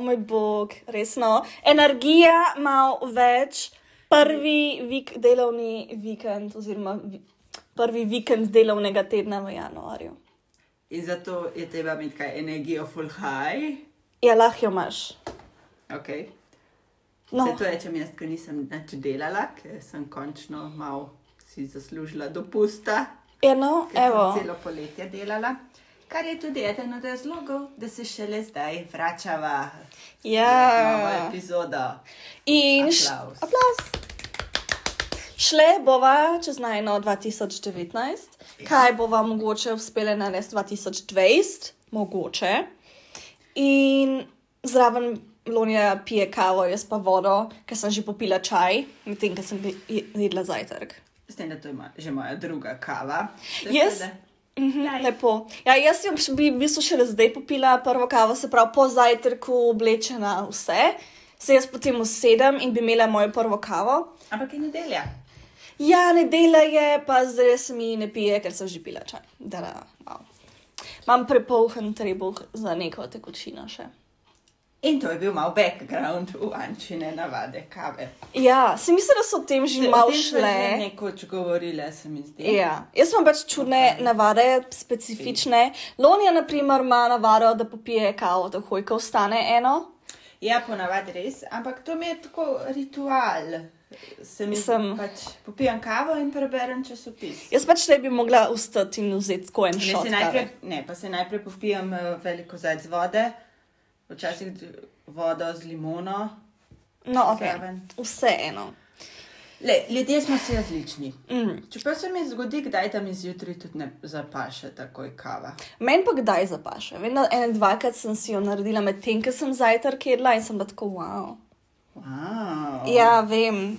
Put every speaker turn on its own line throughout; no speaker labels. moj bog, resno. Energija malo več, prvi vik, delovni vikend, oziroma vi, prvi vikend delovnega tedna v januarju.
In zato je treba imeti kaj energijo, full high.
Ja, lahko jo imaš.
Okay. No.
No,
Vse to rečem jaz, ker nisem nič delala, ker sem končno malo si zaslužila dopusta,
eno,
ker
ja, no, evo.
sem celo poletje delala. Kar je tudi eden od razlogov, da se šele zdaj vračava na novo
Ja.
epizodo.
In š-
Aplavz.
aplavz. Šle bova čez najno 2019, kaj bova mogoče uspele narediti 2020, mogoče. In zraven Lonija pije kavo, jaz pa vodo, ker sem že popila čaj, medtem ko sem bi- je- jedla zajtrk.
S tem, da to je moja, že moja druga kava. Tako
Jaz-
da-
Mhm, lepo. Ja, jaz sem še- bi v bistvu šele zdaj popila prvo kavo, se pravi po zajtrku, oblečena, vse. Se jaz potem usedem in bi imela mojo prvo kavo.
Ampak je nedelja.
Ja, nedelja je, pa zdaj se mi ne pije, ker sem že pila čaj. Da, da, wow. Imam prepolhen trebuh za neko tekočino še.
In to je bil mal background v Ančine navade kave.
Ja, se mi zdi, da so o tem že malo
O tem sva že
šle.
Nekoč govorila, se mi zdi.
Ja. Jaz imam pač čudne navade, specifične. Lonija, na primer, ima navado, da popije kavo, takoj, ko vstane eno.
Ja, ponavadi res, ampak to mi je tako ritual. Se mi
Mislim-
pač popijam kavo in preberem časopis.
Jaz pač ne bi mogla vstati in vzeti tako en
Ne,
šot.
se najprej, ne, pa se najprej popijam eh, veliko zajec vode, včasih d- vodo z limono.
No, okay.
zraven.
vseeno.
Le, ljudje smo si različni.
Mm.
Čeprav se mi zgodi, kdaj da mi zjutraj tudi ne zapaše takoj kava.
Meni pa kdaj zapaše. Vedno ena, dvakrat sem si jo naredila medtem, ko sem zajtrk jedla in sem bila tako wow.
Wow.
Ja, vem.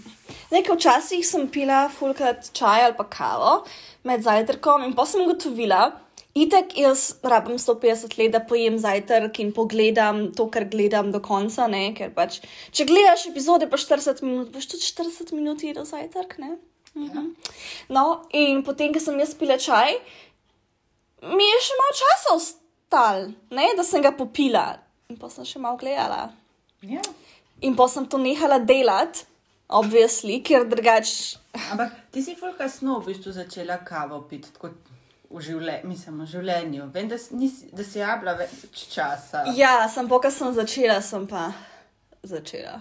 Nekaj včasih sem pila fulkrat čaj ali pa kavo med zajtrkom in pa sem ugotovila, itek jaz rabim 150 let, da pojem zajtrk in pogledam to, kar gledam do konca, ne? ker pač, če gledaš epizode pa 40 minut, boš tudi 40 minut jedel zajtrk, ne? Mhm. No, in potem, ko sem jaz pila čaj, mi je še malo časa ostal, ne? da sem ga popila in pa sem še malo gledala.
Ja.
In pa sem to nehala delati, obvisli, ker drugače.
Ampak ti si fulka sno v bistvu začela kavo piti, tako v življenju, mislim, v življenju. Vem, da, s- nisi, da si jabla več časa.
Ja, sem pa, ko sem začela, sem pa začela.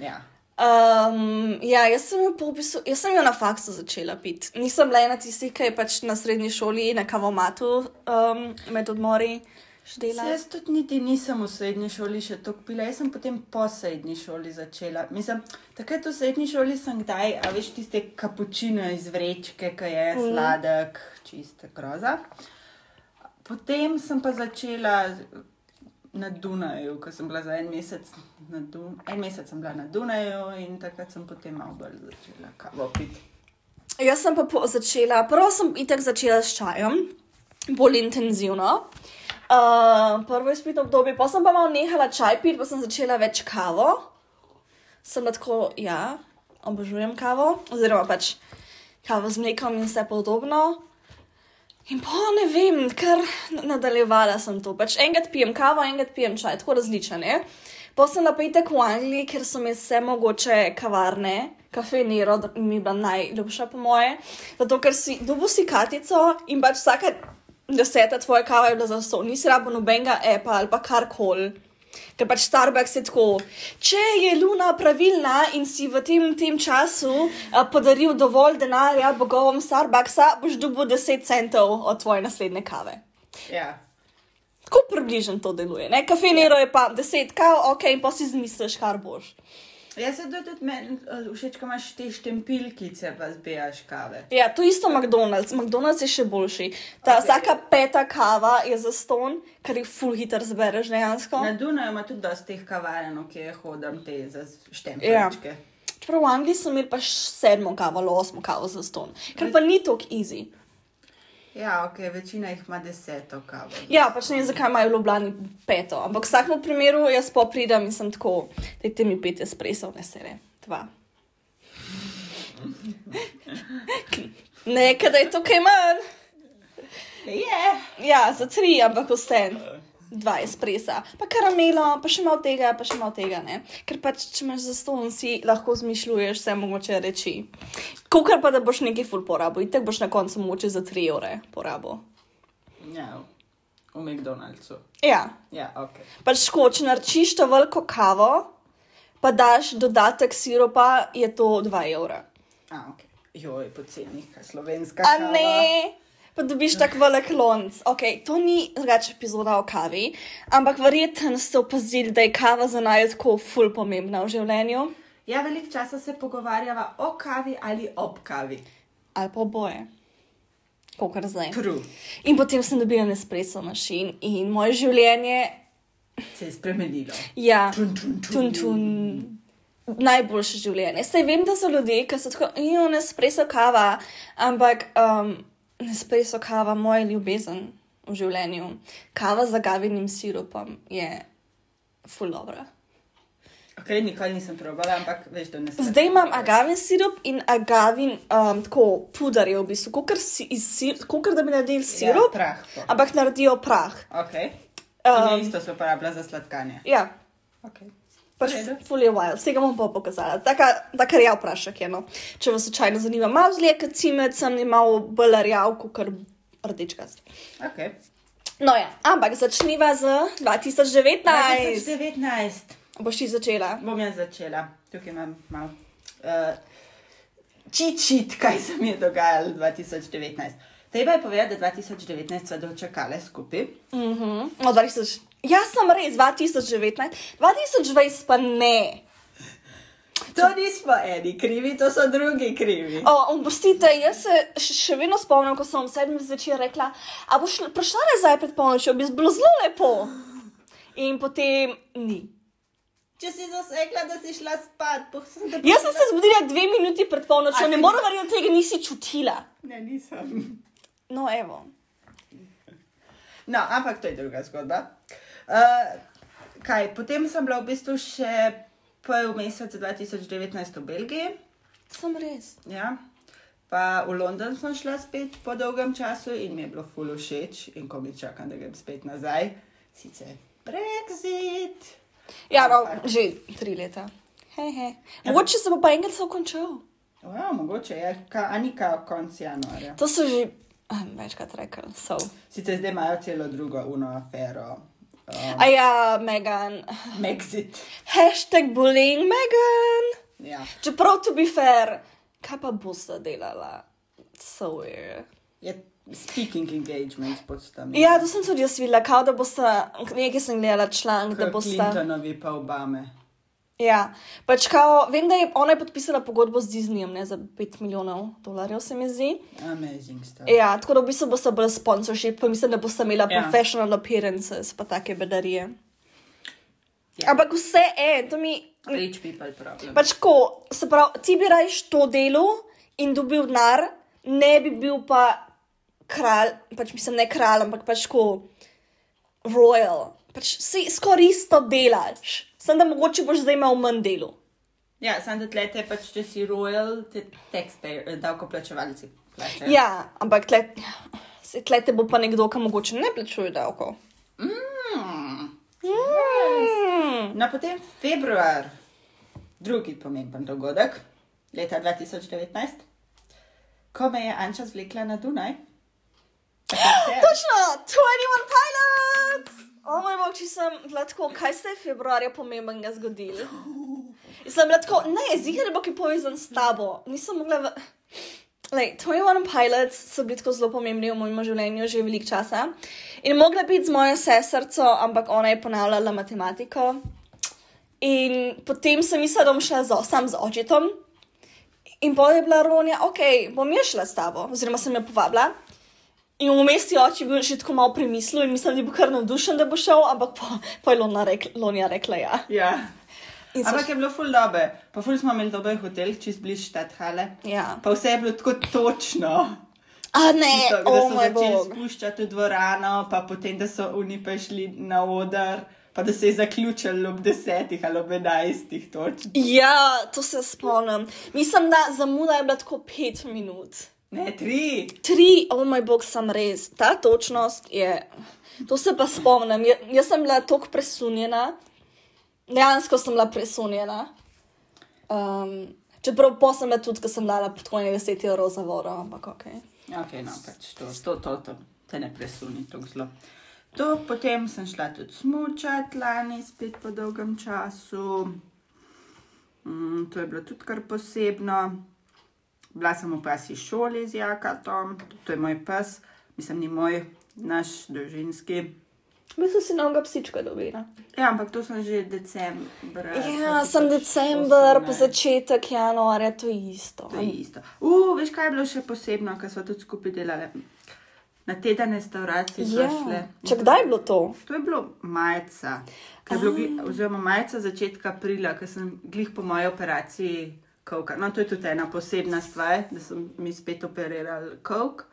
Ja.
Um, ja, jaz sem, jo pa v bistvu, jaz sem jo na faksu začela piti. Nisem bila ena tistih, ki je pač na srednji šoli, na kavomatu um, med odmori še
Se
delala.
Jaz tudi niti nisem v srednji šoli še tako pila, jaz sem potem po srednji šoli začela. Mislim, takrat v srednji šoli sem kdaj, a veš, tiste kapučine iz vrečke, ki je sladek, čista groza. Potem sem pa začela na Dunaju, ko sem bila za en mesec na Dunaju. En mesec sem bila na Dunaju in takrat sem potem malo bolj začela kavo piti.
Jaz sem pa po- začela, prvo sem itek začela s čajem, bolj intenzivno. Uh, prvo izpitno obdobje, pa sem pa malo nehala čaj piti, pa sem začela več kavo. Sem bila tako, ja, obožujem kavo, oziroma pač kavo z mlekom in vse podobno. In pa ne vem, kar nadaljevala sem to. Pač enkrat pijem kavo, enkrat pijem čaj, tako različne. Pa sem napetek v Angliji, ker so mi vse mogoče kavarne, kafe Nero, da mi je bila najljubša po moje. Zato, ker si dobil si kartico in pač vsaka deseta tvoja kava je bila za so, nisi rabo nobenega appa ali pa karkoli. Ker pač Starbucks je tako, če je Luna pravilna in si v tem, tem času a, podaril dovolj denarja bogovom Starbucksa, boš dobil 10 centov od tvoje naslednje kave.
Ja.
Tako približno to deluje. Ne? Kafenero je pa 10 kav, ok, in pa si izmisliš, kar boš.
Jaz se tudi tudi meni eh, všeč, ko imaš te štempilkice, pa zbijaš kave.
Ja, to isto McDonald's. McDonald's je še boljši. Ta
Ok.
okay. vsaka peta kava je za ston, kar jih full hitter zbereš dejansko.
Na Dunaju ima tudi dosti teh kavarn, ki jih hodim te za
Ja.
štempljačke. Ja.
Čeprav v Angliji so imeli pa š- sedmo kavo ali osmo kavo za ston, kar pa ni tako easy.
ja, ok, večina jih ima deseto kavo.
Ja, pač ne vem, zakaj imajo v Ljubljani peto, ampak v vsakem primeru jaz pa pridem in sem tako, da ti mi pet espresov, ne sere, dva. Nekaj je tukaj manj,
Je!
ja, za tri, ampak vse. dva espresa, pa karamelo, pa še malo tega, pa še malo tega. Ne? Ker pač, če imaš za ston, si lahko zmišljuješ vse mogoče reči. Kukar pa, da boš nekaj ful porabo, in tako boš na koncu mogoče za tri ure porabo.
Ja, v McDonald'su.
Ja,
Ja, ok.
pač ko če naročiš to veliko kavo, pa daš dodatek siropa, je to 2 evra.
A, ok. Joj, poceni, kaj slovenska.
A
kava.
ne, pa dobiš tako velik lonc. Okay, to ni drugače epizoda o kavi, ampak verjetno ste opazili, da je kava za naj tako ful pomembna v življenju.
Ja, veliko časa se pogovarjava o kavi ali ob kavi.
ali pa oboje. Kakor zdaj.
True.
In potem sem dobila nespreso mašin in moje življenje,
Se je spremenilo.
ja,
Tun, tun,
tun,
tun.
tun. najboljše življenje. Saj vem, da so ljudje, ki so tako, jo nespreso kava, ampak um, nespreso kava, moja ljubezen v življenju, kava z agavinim siropom je ful dobro.
Ok, nikoli nisem probala, ampak veš, da ne smem.
Zdaj imam agavin sirup in agavin um, tako pudar je v bistvu, kot si, iz sir- kakor da bi naredili sirup,
Ja, prah pol.
ampak naredijo prah.
Ok.
Um,
Um, isto se uporablja za sladkanje.
Ja,
Okay.
pač
V redu.
fully wild, vsega bom pa pokazala. Taka, taka rjav prašek je, no. Če vas slučajno zanima, malo zlije, kot cimet, sem imel bolj rjav, kot rdečkast.
Okay.
No ja, ampak začniva z 2019.
2019
Boš ti začela.
bom jaz začela, tukaj imam malo. Uh, Čičit, kaj se mi je dogajalo 2019. Treba je povedati, da 2019 sva dočekali skupaj.
Mhm, no, 2000. Jaz sem res 2019, 2020 pa ne.
To nismo eni krivi, to so drugi krivi.
O, Oprostite, jaz se še še vedno spomnim, ko sem ob sedmih zvečer rekla, a boš šla- prišla nazaj pred polnočjo, bi bilo zelo lepo. In potem ni.
Če si zasekla, da si šla spat, pa sem te
Jaz sem se zbudila dve minuti pred polnočjo,
A
ne
si-
morem verjeti, da tega nisi čutila.
Ne, nisem.
No, evo.
No, ampak to je druga zgodba. Uh, kaj, potem sem bila v bistvu še pol meseca 2019 v Belgiji,
Sem res.
ja. pa v London sem šla spet po dolgem času in mi je bilo ful všeč in ko mi čakam, da grem spet nazaj, sicer Brexit.
Ja, no, že Ja. tri leta. He, he. Mogoče se bo pa enkrat vse končal.
O, ja, mogoče je, ka, a ni kao konc januarja.
To so že ah, večkrat rekli. So.
Sicer zdaj imajo celo drugo uno afero. Uh,
A ja, Megan.
Brexit.
Hashtag bullying Megan.
Ja.
Čeprav, to bi fair, kaj pa bosta delala, so weird.
Je speaking engagement pod tam.
Ja, to sem tudi jaz videla, kao da bosta, nekaj sem gledala članek, da
K
bosta.
Clintonovi pa Obame.
Ja, pač kao, vem, da je ona je podpisala pogodbo z Disneyjem, ne za 5 milijonov dolarjev, se mi zdi.
Amazing stuff.
Ja, tako da v bistvu bosta brez sponsorship, pa mislim, da bosta imela
Ja.
professional appearances, pa take bedarije.
Ja.
Ampak vse en, to mi
Rich people problem.
Pač ko, se pravi, ti bi raje to delo in dobil denar, ne bi bil pa kralj, pač mislim, ne kralj, ampak pač ko royal. Pač si skoraj isto delaš, samo da mogoče boš zdaj imel manj delo.
ja, samo da tle te pač, če si royal, te taxpayer, eh, davkoplačevalci plačajo.
Ja, ampak tle, se tle te bo pa nekdo, ki mogoče ne plačuje davkov.
Mm.
Mm.
No, potem februar, drugi pomemben dogodek leta 2019, ko me je Anča zvlekla na Dunaj.
Točno, 21 pilots! O moj bog, če sem bila tako, kaj se je februarja pomembnega zgodilo? In Sem bila tako, ne, zihar bo ki povezan s tabo. Nisem mogla. V... Lej, 21 pilots so bili tako zelo pomembni v mojem življenju že veliko časa. In mogla biti z mojo sestrco, ampak ona je ponavljala matematiko. In potem sem mislila, da bom šla z, o- sam z očetom. In pa je bila Ronja, ok, bom jaz šla s tabo, oziroma sem jo povabila. In vmes je oče bil še tako malo pri mislu in mislim, da bo kar navdušen, da bo šel, ampak pa, pa je Lona rekla, Lonja rekla ja.
Ja.
In so
Ampak je bilo ful dobe, pa ful smo imeli dober hotel, čist bliž Štathale.
Ja.
Pa vse je bilo tako točno.
A ne,
Tisto,
E, o
da so
moj
začeli
bog.
spuščati v dvorano, pa potem, da so oni pa šli na oder, pa da se je zaključilo ob desetih ali ob enajstih točk.
Ja, to se spomnim. Mislim, da zamuda je bila tako pet minut.
Ne, tri.
Tri, o oh moj bog, sem res. Ta točnost je. To se pa spomnim. Ja- Jaz sem bila tako presunjena, dejansko sem bila presunjena. Um, čeprav posem je tudi, ko sem dala tako nekaj 10 evrov za vodo, ampak ok.
Ok, no, pač to, to, to, to. te ne presuni tako zelo. To, potem sem šla tudi smučati lani, spet po dolgem času. Mm, to je bilo tudi kar posebno. Bila sem v pasji šoli z Jakatom, to je moj pes, mislim, ni moj, naš družinski.
Mislim, si novega psička dobila.
Ja, ampak to sem že decembra.
Ja, sem
pač
december, pa
2018.
začetek januarja, to je isto.
To je isto. Uh, veš, kaj je bilo še posebno, kar smo tudi skupaj delali? Na teden restauracije so
Ja.
šle.
Če kdaj je bilo to?
To je bilo majca, ko je bilo
Ah.
gli- oziroma majca začetka aprila, ko sem glih po moji operaciji kavka. No, to je tudi ena posebna stvar, da sem mi spet operirali kavk,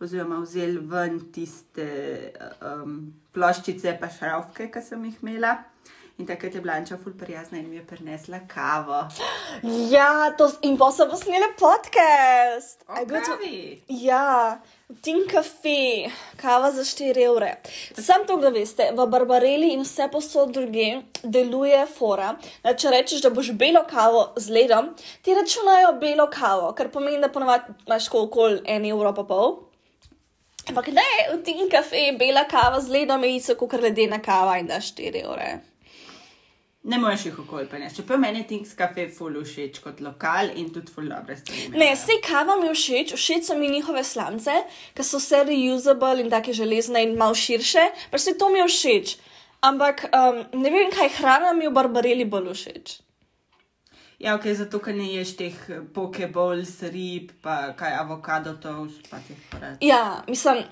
oziroma vzeli ven tiste um, ploščice pa šravke, ki sem jih imela. In takrat je Blanča ful prijazna in mi je prinesla kavo.
Ja, to, s- in pa sem posnela podcast. A je bil to-
Pravi.
Ja, Tin kafe, kava za 4 evre. Sam to, da veste, v Barbareli in vse posod druge deluje fora. Da, če rečeš, da boš belo kavo z ledom, ti računajo belo kavo, kar pomeni, da ponovadi imaš tako okoli 1 evro pa pol. Ampak ne, v tem kafe bela kava z ledom je isto kot ledena kava in da 4 evre.
Ne moreš jih okoli prenesti. Čeprav meni je Tinks kafe ful všeč kot lokal in tudi ful dobre stvari.
Ne,
imajo.
vse kava mi je všeč, všeč so mi njihove slamce, ki so vse reusable in take železne in malo širše, pač se to mi je všeč. Ampak um, ne vem, kaj hrana mi je v barbareli bolj všeč.
Ja, ok, zato ker ne ješ teh pokebowls, rib, pa kaj avokado toast, pa teh parad.
Ja, mislim,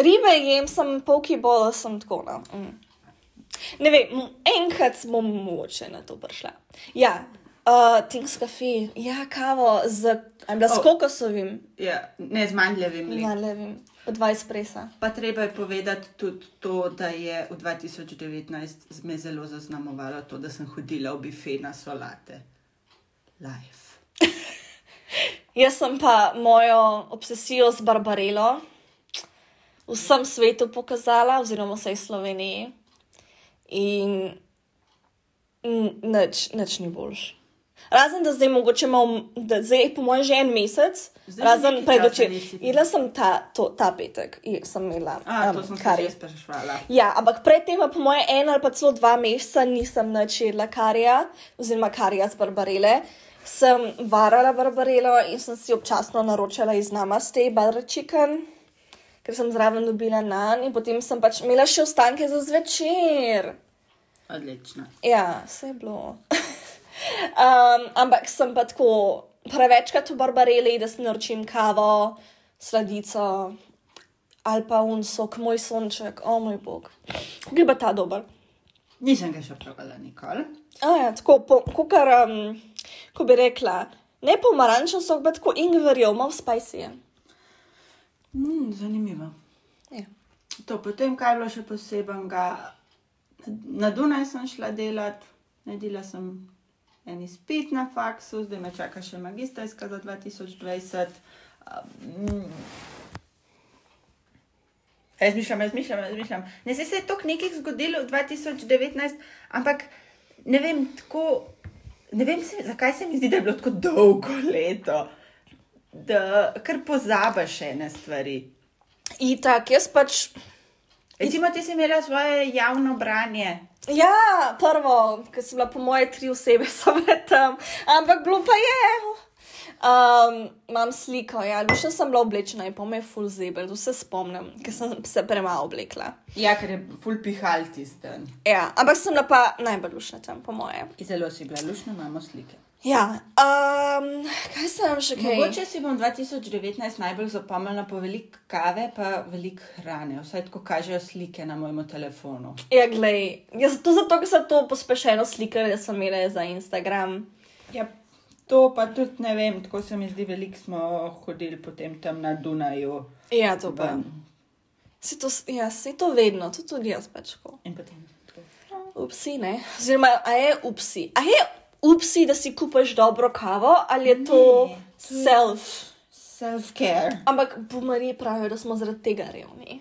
ribe jem, sem polki bolj, sem tako na. Mm. Ne vem, m- enkrat smo mogoče na to prišla. Ja, uh, Tings Cafe, ja, kavo z, a je bila s
Oh.
kokosovim,
Ja, ne zmanjljivim
ne
mlekom.
vem, od 20 presa.
Pa treba je povedati tudi to, da je v 2019 me zelo zaznamovalo to, da sem hodila v bife na solate. Life.
Jaz sem pa mojo obsesijo z Barbarelo vsem svetu pokazala, oziroma vsej Sloveniji. In n- nič, nič ni boljš. Razen da zdaj mogoče imamo, da zdaj je po mojem že en mesec,
Zdaj že
zdaj razen
nekaj časa
predvčeraj.
nisi bila.
Jedla sem ta, to, ta petek, je- sem imela
A, to
em,
sem se
kari.
že sprašvala.
Ja, ampak predtem, pa po moje, en ali pa celo dva meseca nisem načela karija, oziroma karija z barbarele. Sem varala barbarelo in sem si občasno naročala iz namaste, barbarečiken, ker sem zraven dobila nan in potem sem pač imela še ostanke za zvečer.
Odlično.
Ja, vse je bilo. um, ampak sem pa tako prevečkrat v barbareli, da si naročim kavo, sladico ali pa un sok, moj sonček, o oh, moj bog. Kako je pa ta dober?
Nisem ga še provala nikoli.
A Ja, tako, po, kukar, um, ko bi rekla, ne pomarančen sok, ampak tako ingverjev, malo spicy je.
Mm, zanimivo.
Ja.
To, potem, kaj je bilo še posebnega, na Dunaj sem šla delat, naredila sem en izpit na faksu, zdaj me čaka še magistrska za 2020. Um, Razmišljam, razmišljam, razmišljam. Ne se, se je toliko nekih zgodilo v 2019, ampak ne vem, tako, ne vem se, zakaj se mi zdi, da je bilo tako dolgo leto, da kar pozabiš še ene stvari.
Itak, jaz pač.
Recimo, E, ti si imela svoje javno branje.
Ja, prvo, ker sem bila po moje tri osebe, so bile tam, ampak bilo pa je. Um, imam sliko, ja, še sem bila oblečena in pa me je full zebel, to se spomnim, ker sem se premalo oblekla.
Ja, ker je full pihal tisti dan.
Ja, ampak sem bila pa najbolj lušna tam, po moje.
Zelo si bila lušna, imamo slike.
Ja, um, kaj sem še
Okay.
kaj?
Mogoče si bom 2019 najbolj zapomnila po veliko kave, pa veliko hrane. Vsaj tako kažejo slike na mojem telefonu.
Ja, glej, jaz to zato, ker sem to pospešeno slikala, da sem imela za Instagram.
Ja, to pa tudi ne vem, tako se mi zdi, veliko smo hodili potem tam na Dunaju.
Ja, to pa.
ven.
Se to, s- ja, se to vedno, to tudi jaz pač tako.
In potem. tako.
Upsi, ne. Oziroma, a je upsi. A je upsi, da si kupaš dobro kavo, ali je to
Ne,
self?
self-care.
Ampak bumari pravijo, da smo zaradi tega revni.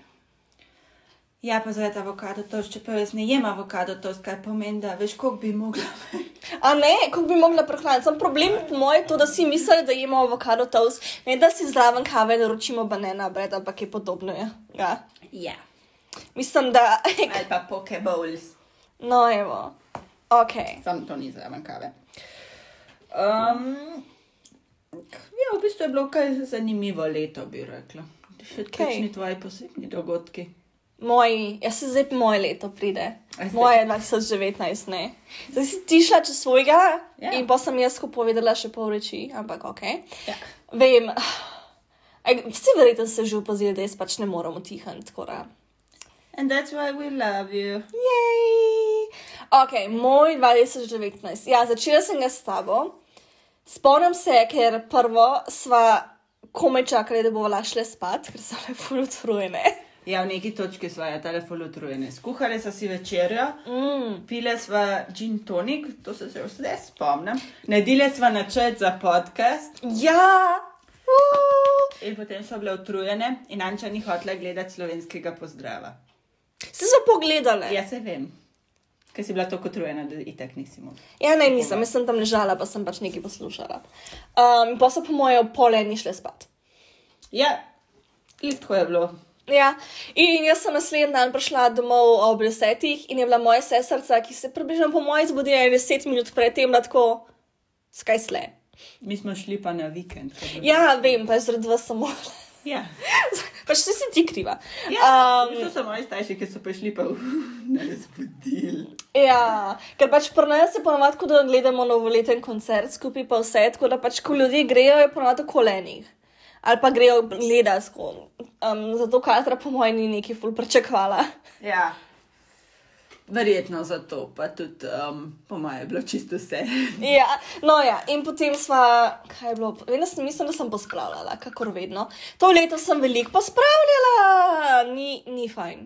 Ja, pa zdaj avokado toast, čeprav jaz ne jem avokado toast, kaj pomeni, da veš, koliko bi mogla.
A ne, kako bi mogla prehraniti. Sam problem moj je to, da si mislijo, da jemo avokado toast, ne da si zraven kave naročimo banana bread, ampak je podobno. je. Ja.
ja.
Mislim, da.
Ali pa pokeballs.
No, evo. Ok.
Sam to ni zraven kave. Um, ja, v bistvu je bilo kaj zanimivo leto, bi rekla. Še
Okej.
kakšni tvoji posebni dogodki?
Moji, jaz se zdaj moje leto pride.
A zdaj?
Moje 2019, ne. Zdaj si ti šla čez svojega
Ja.
in pa sem jaz povedala še pol reči, ampak ok.
Ja.
Vem, Aj, vsi verjetno ste že opazili, da jaz pač ne morem utihniti. tako da.
And that's why we love you.
Jej! Ok, moj 2019. Ja, začela sem ga s tabo. Spomnim se, ker prvo sva komaj čakali, da bova šla spat, ker so bile ful utrujene.
Ja, v neki točki sva ja telefon utrujene. Skuhali sva si večerjo,
Mm.
pile sva gin tonik, to se še vse spomnim. Nedile sva načet za podcast
Ja! Uh!
in potem so bile utrujene in Anča ni hotela gledati slovenskega pozdrava.
Ste se pogledali?
Jaz se Ja, vem, ker si bila tako utrujena, da itek nisi mogla.
Ja, ne, nisem, jaz sem tam ležala, pa sem pač nekaj poslušala. Um, pa so po moje ob pol eni šle spat.
Ja, glih tako je bilo.
Ja, in jaz sem naslednji dan prišla domov ob desetih in je bila moja sestrca, ki se približno po mojem zbudila je deset minut predtem, da tako, skaj sle.
Mi smo šli pa na vikend. ko je bilo-
Ja, vem, pač zaradi vas samo.
ja.
pač ti si ti kriva.
ja
Um,
um, to so moji starši, ki so prišli pa uh, ne zbudili.
Ja, ker pač pri nas je ponovadi tako, da gledamo novoleten koncert skupaj, pa vse tako, da pač ko ljudje grejo, je ponovadi v kolenih. Ali pa grejo gledati skozi. Um, zato Katra, po mojem, ni neki ful pričakvala.
Ja. Verjetno zato, pa tudi um, po mojem je bilo čisto vse.
Ja, no ja, in potem sva, kaj je bilo, vedno sem, mislim, da sem pospravljala, kakor vedno. To leto sem veliko pospravljala, ni, ni fajn.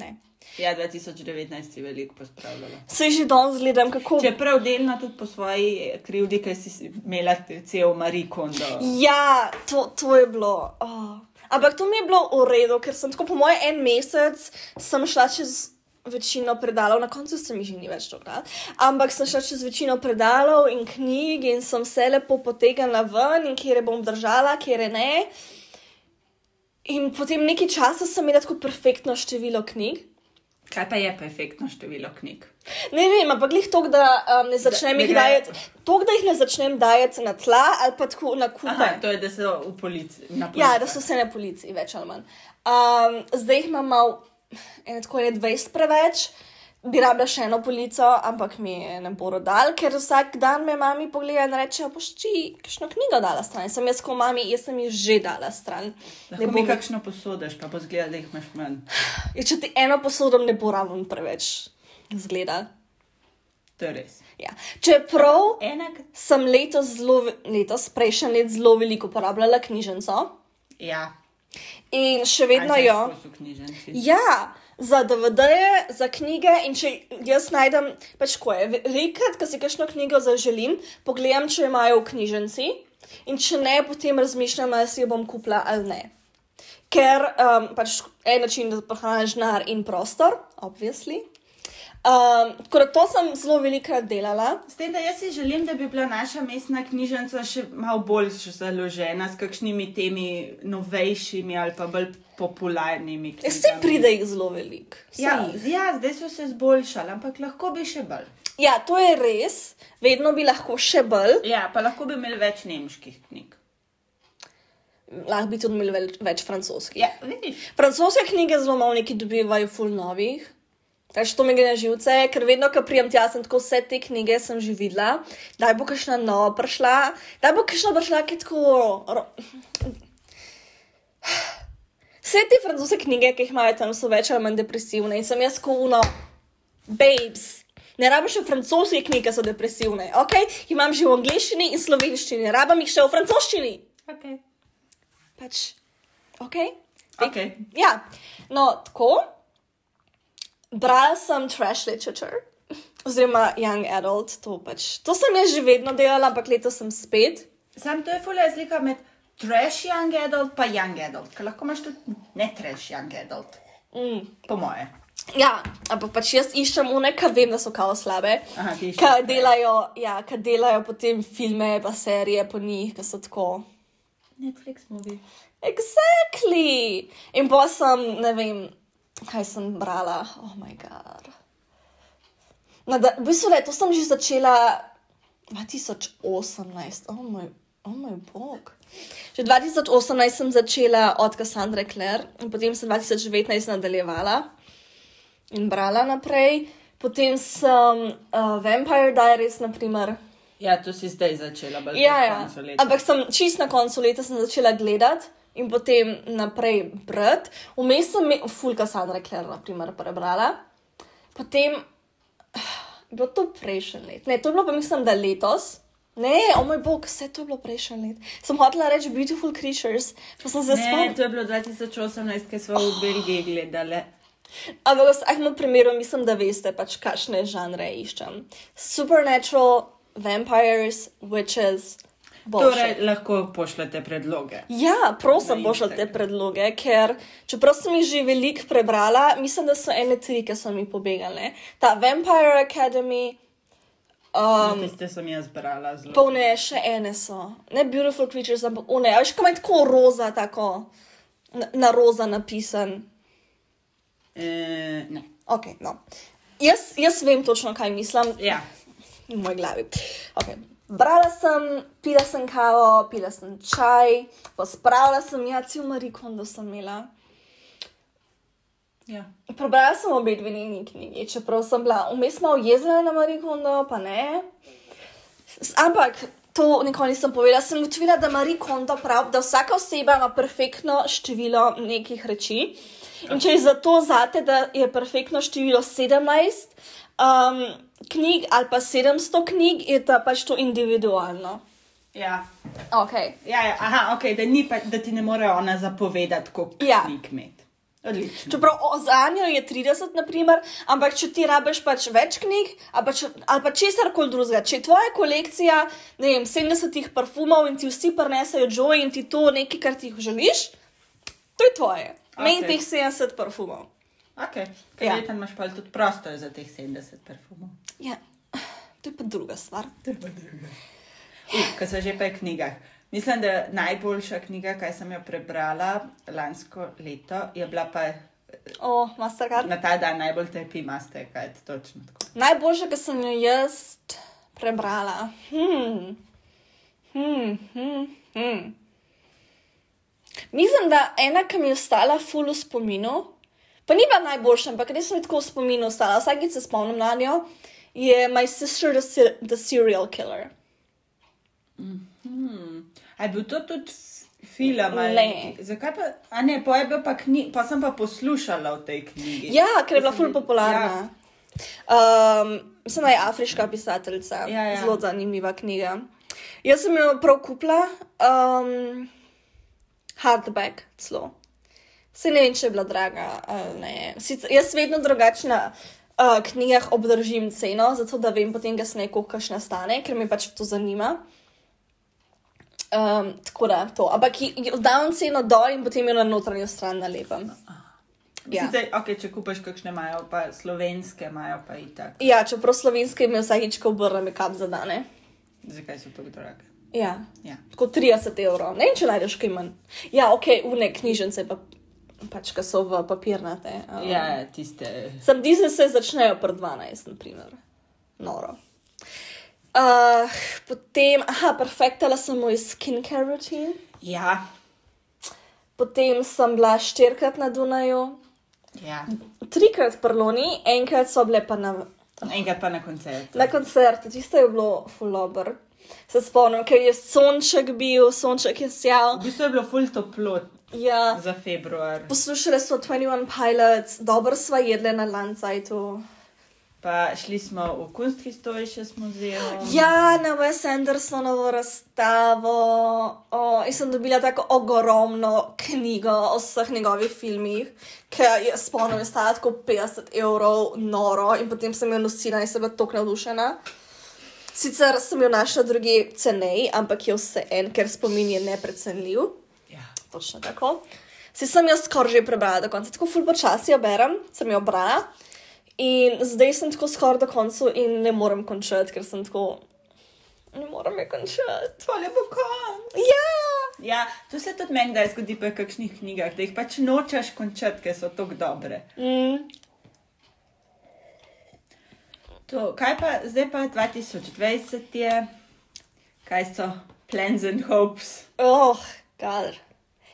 Ne.
Ja, 2019 si veliko pospravljala.
Se že danes gledam, kako.
Čeprav delno tudi po svoji krivdi, ker si imela te- cel marikondo.
Ja, to, to je bilo. Oh. Ampak to mi je bilo v redu, ker sem tako, po mojem, en mesec sem šla čez večino predalov, na koncu se mi že ni več dogajalo. Ampak sem šla čez večino predalov in knjig in sem se lepo potegnila ven in kje bom držala, kje ne. In potem nekaj časa sem imela tako perfektno število knjig.
Kaj pa je perfektno število knjig?
Ne vem, ampak jih to, da um, ne začnem
ne
jih
gre-
dajati, to, da jih ne začnem dajati na tla ali pa tako na kupe.
Aha, to je, da so v policiji.
Ja, da so vse na policiji, več ali manj. Um, zdaj jih imam malo, eno tako je 20 preveč, bi rabila še eno polico, ampak mi je ne bodo dal, ker vsak dan me mami pogleda in reče: Pošči, kakšno knjigo dala stran. Sem jaz, ko mami, jaz sem jih že dala stran. Ne
Lahko
bo
mi
mi-
kakšno posodaš, pa bo zgledal, da jih imaš manj.
Ja, Če ti eno posodom ne bo ravno preveč, zgleda.
To je res.
Ja. Čeprav
Enak.
sem letos, zelo ve- letos prejšnji let zelo veliko uporabljala knjižnico
Ja.
in še vedno jo.
knjižnici.
Ja, za DVD-je, za knjige in če jaz najdem, pač ko je, velikrat, ko si kakšno knjigo zaželim, pogledam, če jo imajo v knjižnici in če ne, potem razmišljam, ali si jo bom kupila ali ne. Ker um, pač en način, da prihraneš denar in prostor, obvisli. Um, tako da to sem zelo velikrat delala.
S tem, da jaz si želim, da bi bila naša mestna knjižnica še malo bolj še založena s kakšnimi temi novejšimi ali pa bolj popularnimi.
Ja, Saj
knjigami.
pride jih zelo veliko. Saj
Ja,
jih.
ja, zdaj so se zboljšali, ampak lahko bi še bolj.
ja, to je res, vedno bi lahko še bolj,
Ja, pa lahko bi imeli več nemških knjig.
lahko bi tudi imeli več, več francoskih.
Ja, vidiš.
Francoske knjige zelo malo neki dobivajo, ful novih. Pač to mi gre na živce, ker vedno, ko prijem tja, sem tako vse te knjige sem že videla, da bo kakšna nova prišla, da bo kakšna prišla, ki je tako. ro- Vse te francoske knjige, ki jih imajo tam, so več ali manj depresivne in sem jaz kuno, babes. Ne rabim še francoske knjige, ki so depresivne, ok? Jih Imam že v angliščini in slovenščini, ne rabim jih še v francoščini.
Okay.
Pač, ok?
Okay.
Ja, no, tako. Brala sem trash literature, oziroma young adult, to pač. To sem jaz že vedno delala, ampak letos sem spet.
Sam to je fulja razlika med trash young adult, pa young adult, ker lahko imaš tudi ne trash young adult,
Mm.
po moje.
Ja, ampak pač jaz iščem one, ki vem, da so kao slabe.
Aha, ti iščeš
Ki
slabe.
delajo, ja, ki delajo potem filme, pa serije po njih, ki so tako.
Netflix movie.
Exactly. In pa sem, ne vem, kaj sem brala. Oh, moj bog. V bistvu je to sem že začela 2018, oh, moj oh moj bog. Že 2018 sem začela od Cassandre Clare in potem sem 2019 nadaljevala in brala naprej. Potem sem uh, Vampire Diaries, naprimer.
Ja, to si zdaj začela, bolj
Ja, ja.
koncu leta.
Ampak sem čist na koncu leta sem začela gledati in potem naprej brati. Vmes sem me- Fulka Sandra Kler, naprimer, prebrala. Potem je bilo to prejšnji let. Ne, to je bilo pa mislim, da letos. Ne, o moj bog, vse to je bilo prejšnji let. Sem hotela reči Beautiful Creatures, pa sem se
Ne,
spomnila.
to je bilo 2018, ki smo v Belgiji
Oh,
gledali.
Ampak v vsakem primeru mislim, da veste, pač kakšne žanre iščem. Supernatural, vampires, witches. bullshit.
Torej, lahko pošljete predloge.
Ja, prosim,
Na
pošljite
Instagram.
predloge, ker čeprav sem jih že veliko prebrala, mislim, da so ene tri, ki so mi pobegale. Ta Vampire Academy, um,
Um, Tiste sem jaz brala zelo.
polne še ene so, ne Beautiful Creatures, ampak one, a veš, kam je tako roza, tako na, na roza napisan.
E, ne.
Ok, no. Jaz, jaz vem točno, kaj mislim,
Ja,
v moji glavi. Okay. Brala sem, pila sem kavo, pila sem čaj, pospravila sem, ja, cel marikondo sem imela.
ja.
Prebrala sem obe dve njeni knjigi, čeprav sem bila vmes malo jezna na Marikondo, pa ne. S- Ampak to nikoli nisem povedala, sem ugotovila, da Marikondo pravi, da vsaka oseba ima perfektno število nekih reči. In če je zato zate, da je perfektno število 17 um, knjig ali pa 700 knjig, je ta pač to individualno.
ja.
Okay.
Ja, ja, aha, ok, da, ni pa, da ti ne more ona zapovedati, kako
Ja.
ti kmet. Odlično.
Čeprav o- za njo je 30, naprimer, ampak če ti rabiš pač več knjig ali pa, če, ali pa česar koli drugega, če je tvoja kolekcija ne vem, 70 parfumov in ti vsi prinesajo joy in ti to nekaj, kar ti želiš, to je tvoje. Meni
Okej.
teh 70 parfumov.
Okay.
Ja.
Ja. Leta imaš pa tudi prostor za teh 70 perfumov.
Ja, to je pa druga stvar.
Ko so že pri knjigah. Mislim, da najboljša knjiga, kaj sem jo prebrala lansko leto, je bila pa
O, Mastercard.
na ta dan najbolj tepi master, kaj je točno tako.
Najboljša, ki sem jo jaz prebrala. Hmm. Hmm, hmm, hmm. Mislim, da ena, ki mi je ostala ful v spominu, pa ni bila najboljša, ampak res mi je tako v spominu ostala, vsakeč se spomnim na njo, je My Sister the, Ser the Serial Killer.
Hmm. A je bil to tudi f- film? ali
Ne.
nekaj? Zakaj pa? A ne, pa, je bil pa, knji, pa sem pa poslušala o tej knjigi.
Ja, ker je bila
Mislim,
ful popularna. Um, mislim, da je afriška pisateljica.
Ja, ja.
Zelo zanimiva knjiga. Jaz sem jo prav kupila, um, hardback celo. Se ne vem, če je bila draga ali ne. Sicer, jaz vedno drugačna. Uh, knjigah obdržim ceno, zato da vem potem, kaj se neko kašne stane, ker me pač to zanima. Um, tako da to. Ampak ji- ji dam ceno dol in potem jo na notranjo stran nalepam.
Ja. Sicer, okay, če kupaš kakšne, imajo pa slovenske, imajo pa itak.
Ja, čeprav slovenske ime vsakič, ko obrnem, je kap zadane.
Zakaj so tako drage?
Ja.
Ja.
Tako 30 evrov, ne vem, če najdeš kaj manj. Ja, ok, une knjižnice pa pač, ki so v papirnate. Um,
Ja, tiste.
Sam dizel se začnejo pri 12, naprimer. Noro. Uh, potem, aha, perfektala sem moj skincare routine,
Ja.
potem sem bila štirikrat na Dunaju,
ja.
trikrat v Prloni, enkrat so bile pa na
Enkrat pa na koncertu.
Na koncertu, tisto je bilo fulobr. Se spomnim, ker je sonček bil, sonček je sjal.
V bistvu je bilo ful toplo
Ja,
za februar.
poslušali smo 21 Pilots, dobro sva jedli na Lancajtu.
Pa šli smo v Kunsthistorični muzej.
Ja, na Wes Andersonovo razstavo o, in sem dobila tako ogromno knjigo o vseh njegovih filmih, ki je spomnim, je stala tako 50 evrov, noro in potem sem jo nosila in sem bila tako navdušena. Sicer sem jo našla druge ceneje, ampak je vse en, ker spomin je neprecenljiv.
Ja.
Točno tako. Si sem jaz skoraj že prebrala do konca, tako ful počasi jo berem, sem jo brala in zdaj sem tako skoraj do konca in ne morem končati, ker sem tako. Ne morem je končati.
To lepo konc.
Ja!
Ja, to se tudi meni, da zgodi pri kakšnih knjigah, da jih pač nočeš končati, ker so tako dobre.
Mm.
To, kaj pa zdaj pa 2020 je, kaj so plans and hopes?
Oh, kadar.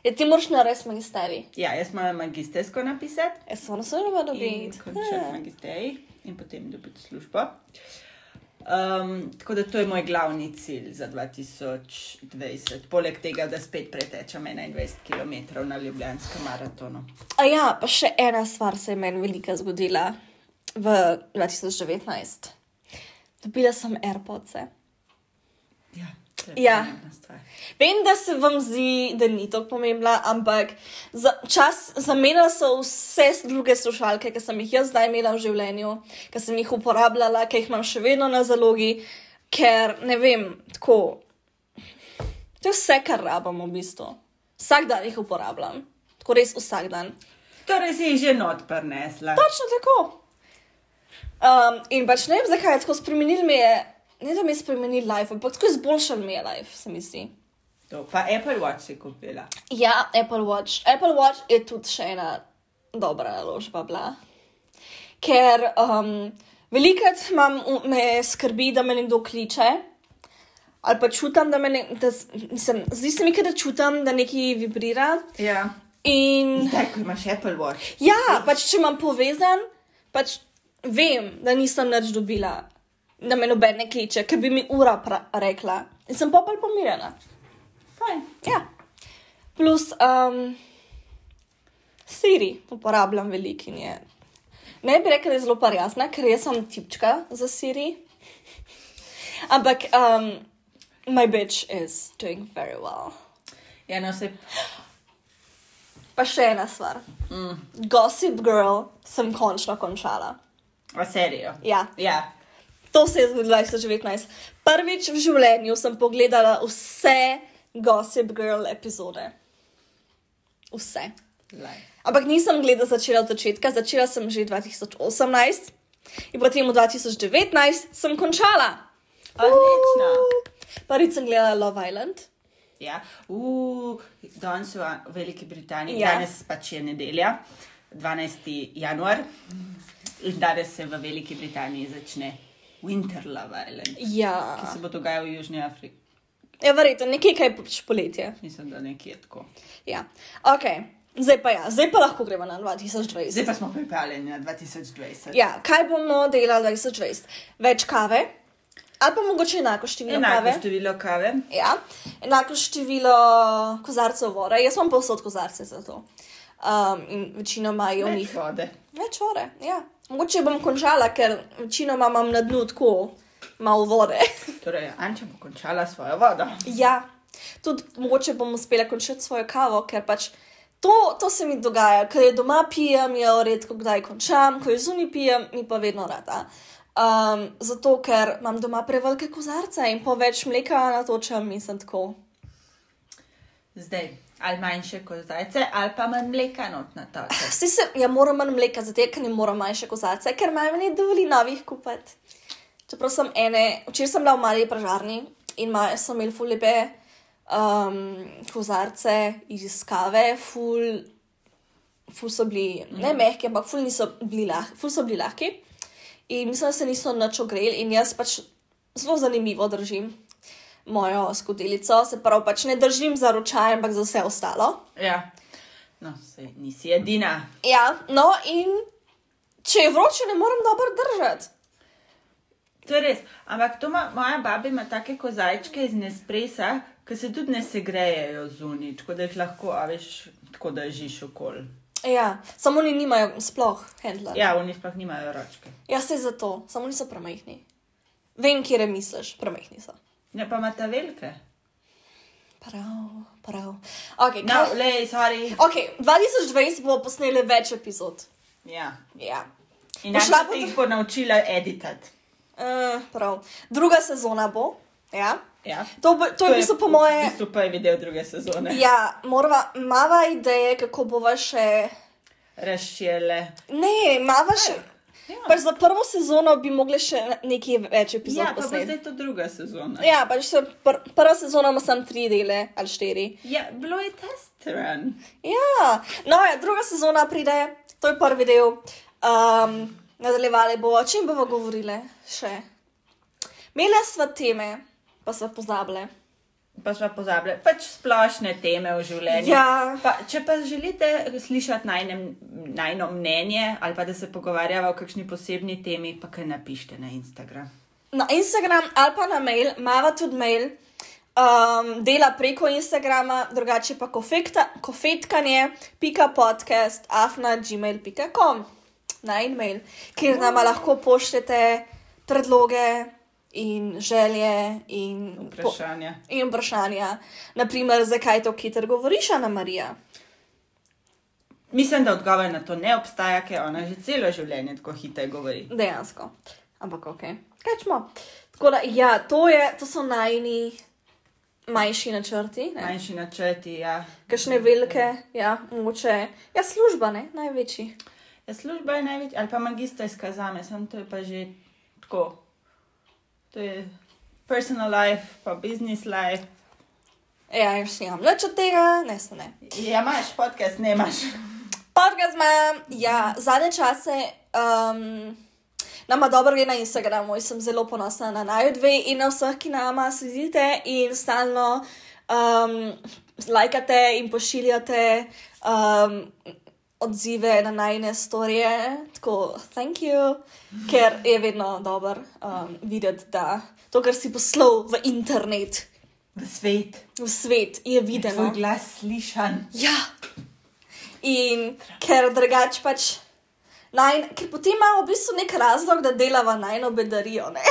Je ti moraš narediti magisterij? E,
Ja, jaz moram magistersko napisati
Jaz sem na svojem
in
dobiti.
končati magisterij in potem dobiti službo. Um, tako da to je moj glavni cilj za 2020, poleg tega, da spet pretečem 21 km na Ljubljanskem maratonu.
A ja, pa še ena stvar se je meni velika zgodila v 2019. Dobila sem AirPods.
Ja, to je
Ja.
pomembna stvar.
Vem, da se vam zdi, da ni tako pomembna, ampak za, čas zamenjala so vse druge slušalke, ki sem jih jaz zdaj imela v življenju, ki sem jih uporabljala, ki jih imam še vedno na zalogi, ker ne vem, tako. To je vse, kar rabim v bistvu. Vsak dan jih uporabljam, tako res vsak dan.
Torej si jih že not prinesla.
Točno tako. Um, in pač ne vem, zakaj je tako spremenil mi je, ne da mi je spremenil life, ampak tako izboljšal mi je life, se mi zdi.
To pa Apple Watch si kupila.
Ja, Apple Watch. Apple Watch je tudi še ena dobra naložba bila. Ker um, velikrat imam, v- me skrbi, da me nekdo kliče, ali pa čutim, da me ne, da, s- mislim, zdi se mi, kot da čutim, da nekaj vibrira.
Ja.
In
Zdaj, ko imaš Apple Watch.
ja, pač če imam povezan, pač vem, da nisem nič dobila, da me noben ne kliče, ker bi mi ura pra- rekla. In sem pa bolj pomirjena.
Fajn.
Ja. Plus um, Siri uporabljam veliko in je. Ne bi rekla, da je zelo parjasna, ker jaz sem tipčka za Siri. Ampak um, my bitch is doing very well.
Ja, no, se...
Pa še ena stvar.
Mm.
Gossip Girl sem končno končala.
A serijo.
Ja,
Ja.
to se je zgodilo 2019. Prvič v življenju sem pogledala vse Gossip Girl epizode. Vse.
Laj.
Ampak nisem gledala začela od začetka, začela sem že 2018 in potem v 2019 sem končala.
Odlično.
Prvič sem gledala Love Island.
Ja. Uh, danes v A- Veliki Britaniji,
Ja.
ja. danes pač je nedelja, 12. januar. In danes se v Veliki Britaniji začne Winter Love Island,
Ja,
ki se bo dogajal v Južni Afriki.
je verjetno nekaj, kaj je pač poletje.
Mislim, da nekje tako.
Ja, ok, zdaj pa ja, zdaj pa lahko gremo na 2020.
Zdaj pa smo pripravljeni na 2020.
Ja, kaj bomo delali 2020? Več kave, ali pa mogoče enako število
Enako
kave.
število kave.
Ja, enako število kozarcev vode. Jaz imam povsod kozarce za to. Um, in večinoma je v njih
Več vode.
Več vode, ja. Mogoče bom končala, ker večinoma imam na dnu tako malo vode.
Torej, Anča bo končala svojo vodo.
ja, tudi mogoče bom uspela končati svojo kavo, ker pač to, to se mi dogaja, ker jo doma pijem, jo redko kdaj končam, ko jo zunaj pijem, mi pa vedno rada. Um, zato, ker imam doma prevelike kozarce in po več mleka natočam in sem tako.
Zdaj, ali manjše kozajce, ali pa manj mleka not na to.
Vsi se, ja, moram manj mleka, zato ker ne moram manjše kozarce, ker maj ne dovoli novih kupiti. Čeprav sem ene, včeraj sem bila v mali pražarni in imajo sem imel ful lepe um, kozarce iz kave, ful, ful so bili ne mehki, ampak ful, niso bili lah, ful so bili lahki. In mislim, da se niso nič ogreli in jaz pač zelo zanimivo držim mojo skodelico, se pravi pač ne držim za ročaj, ampak za vse ostalo.
Ja. No, sej nisi edina.
Ja, no in če je vroče, ne morem dobro držati.
To je res. Ampak to ima, moja baba ima take kozajčke iz nespresa, ki se tudi ne segrejejo zunaj, tako da jih lahko, a veš, tako da žiš okol.
Ja, samo oni nimajo sploh handla. Ja.
Ja, oni sploh nimajo ročke.
ja, se zato, samo niso premajhni. Vem, kje misliš, premajhni so.
Ne Ja, pa imata velike.
Prav, prav. Okay,
No,
no.
lej, sorry.
ok, 2020 bo posneli več epizod.
Ja.
Ja.
In
Bo
ona
šla
se
bo-
jih bo naučila editati.
Uh, prav. Druga sezona bo. Ja.
Ja.
To, bo, to je v bistvu po moje.
V bistvu pa je video druge sezone.
Ja, morava, mava ideje, kako bova še.
Razšele.
Ne, mava še.
Ja.
Pač za prvo sezono bi mogli še nekaj več epizod
Ja, pa bo
posneti.
zdaj to druga sezona.
Ja, pač se pr prva sezona ima samo tri dele ali štiri.
Ja, bilo je test run.
Ja, no, ja, druga sezona pride, to je prvi del. Um, nadaljevali bomo, o čem bomo govorili še. Imela sva teme, pa sva pozabile.
Pa smo pozabili, pač splošne teme v življenju.
Ja.
Pa, če pa želite slišati najnem, najno mnenje ali pa da se pogovarjava o kakšni posebni temi, pa kaj napišite na Instagram.
Na Instagram ali pa na mail, mava tudi mail, um, dela preko Instagrama, drugače pa kofekta, kofetkanje, pika podcast, afna gmail.com, na e-mail, kjer nama lahko pošljete predloge in želje in po-
Vprašanja.
in vprašanja. Naprimer, zakaj to kiter govoriš, Ana Marija?
Mislim, da odgovor na to ne obstaja, ker ona že celo življenje tako hitro govori.
Dejansko. Ampak ok, kaj smo. Tako da, ja, to, je, to so najni manjši načrti, ne?
Manjši načrti, ja.
kakšne velike, ja, moče. Ja, služba, ne, največji.
ja. Služba je največja, ali pa magistrska za me, sem to je pa že tako. To je personal life, pa business life.
Ja, jaz imam več od tega, ne, se ne.
Ja, imaš podcast, ne imaš.
Podcast imam, ja, zadnje čase. Um, Nama dobro gre na Instagramu in sem zelo ponosna na naju dve in na vseh, ki nama sledite in stalno um, lajkate in pošiljate um, odzive na najne storije. Tako, thank you, ker je vedno dobro um, videti, da to, kar si poslal v internet,
V svet,
v svet, je videno.
tvoj glas slišan.
Ja. In ker drugače pač. Naj, ker potem ima v bistvu nek razlog, da delava najno bedarijo. ne.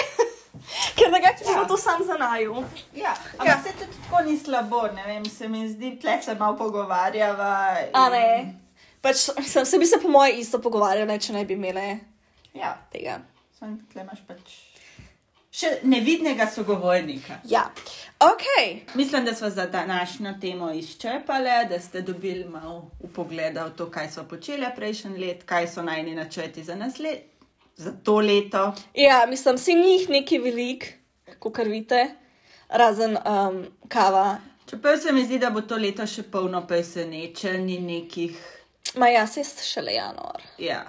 ker drugače ja. bo to sam za naju.
Ja,
Ja.
ampak se tudi tako ni slabo, ne vem, se mi zdi, tle se malo pogovarjava. in-
A ne. Pač sem se bi se po moje isto pogovarjala, če ne bi imele
Ja,
tega.
samo tle imaš pač še nevidnega sogovornika.
Ja. Ok.
Mislim, da smo za današnjo temo izčrpali, da ste dobili malo upogleda v to, kaj smo počeli prejšnji let, kaj so najni načrti za naslednje, za to leto.
Ja, mislim, si njih nekaj velik, kot vidite, razen um, kava.
Čeprav se mi zdi, da bo to leto še polno presenečenj in nekih.
Ma ja, se šele januar.
Ja.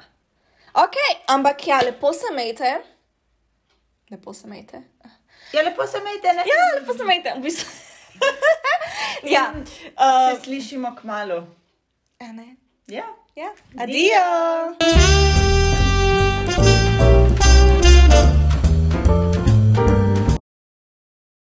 Ok, ampak ja, lepo se mejte. Lepo se mejte.
ja, lepo se imejte, ne?
Ja, lepo se mejte, v bistvu. ja,
Se slišimo k malu.
uh, ne.
Ja.
Ja, adijo.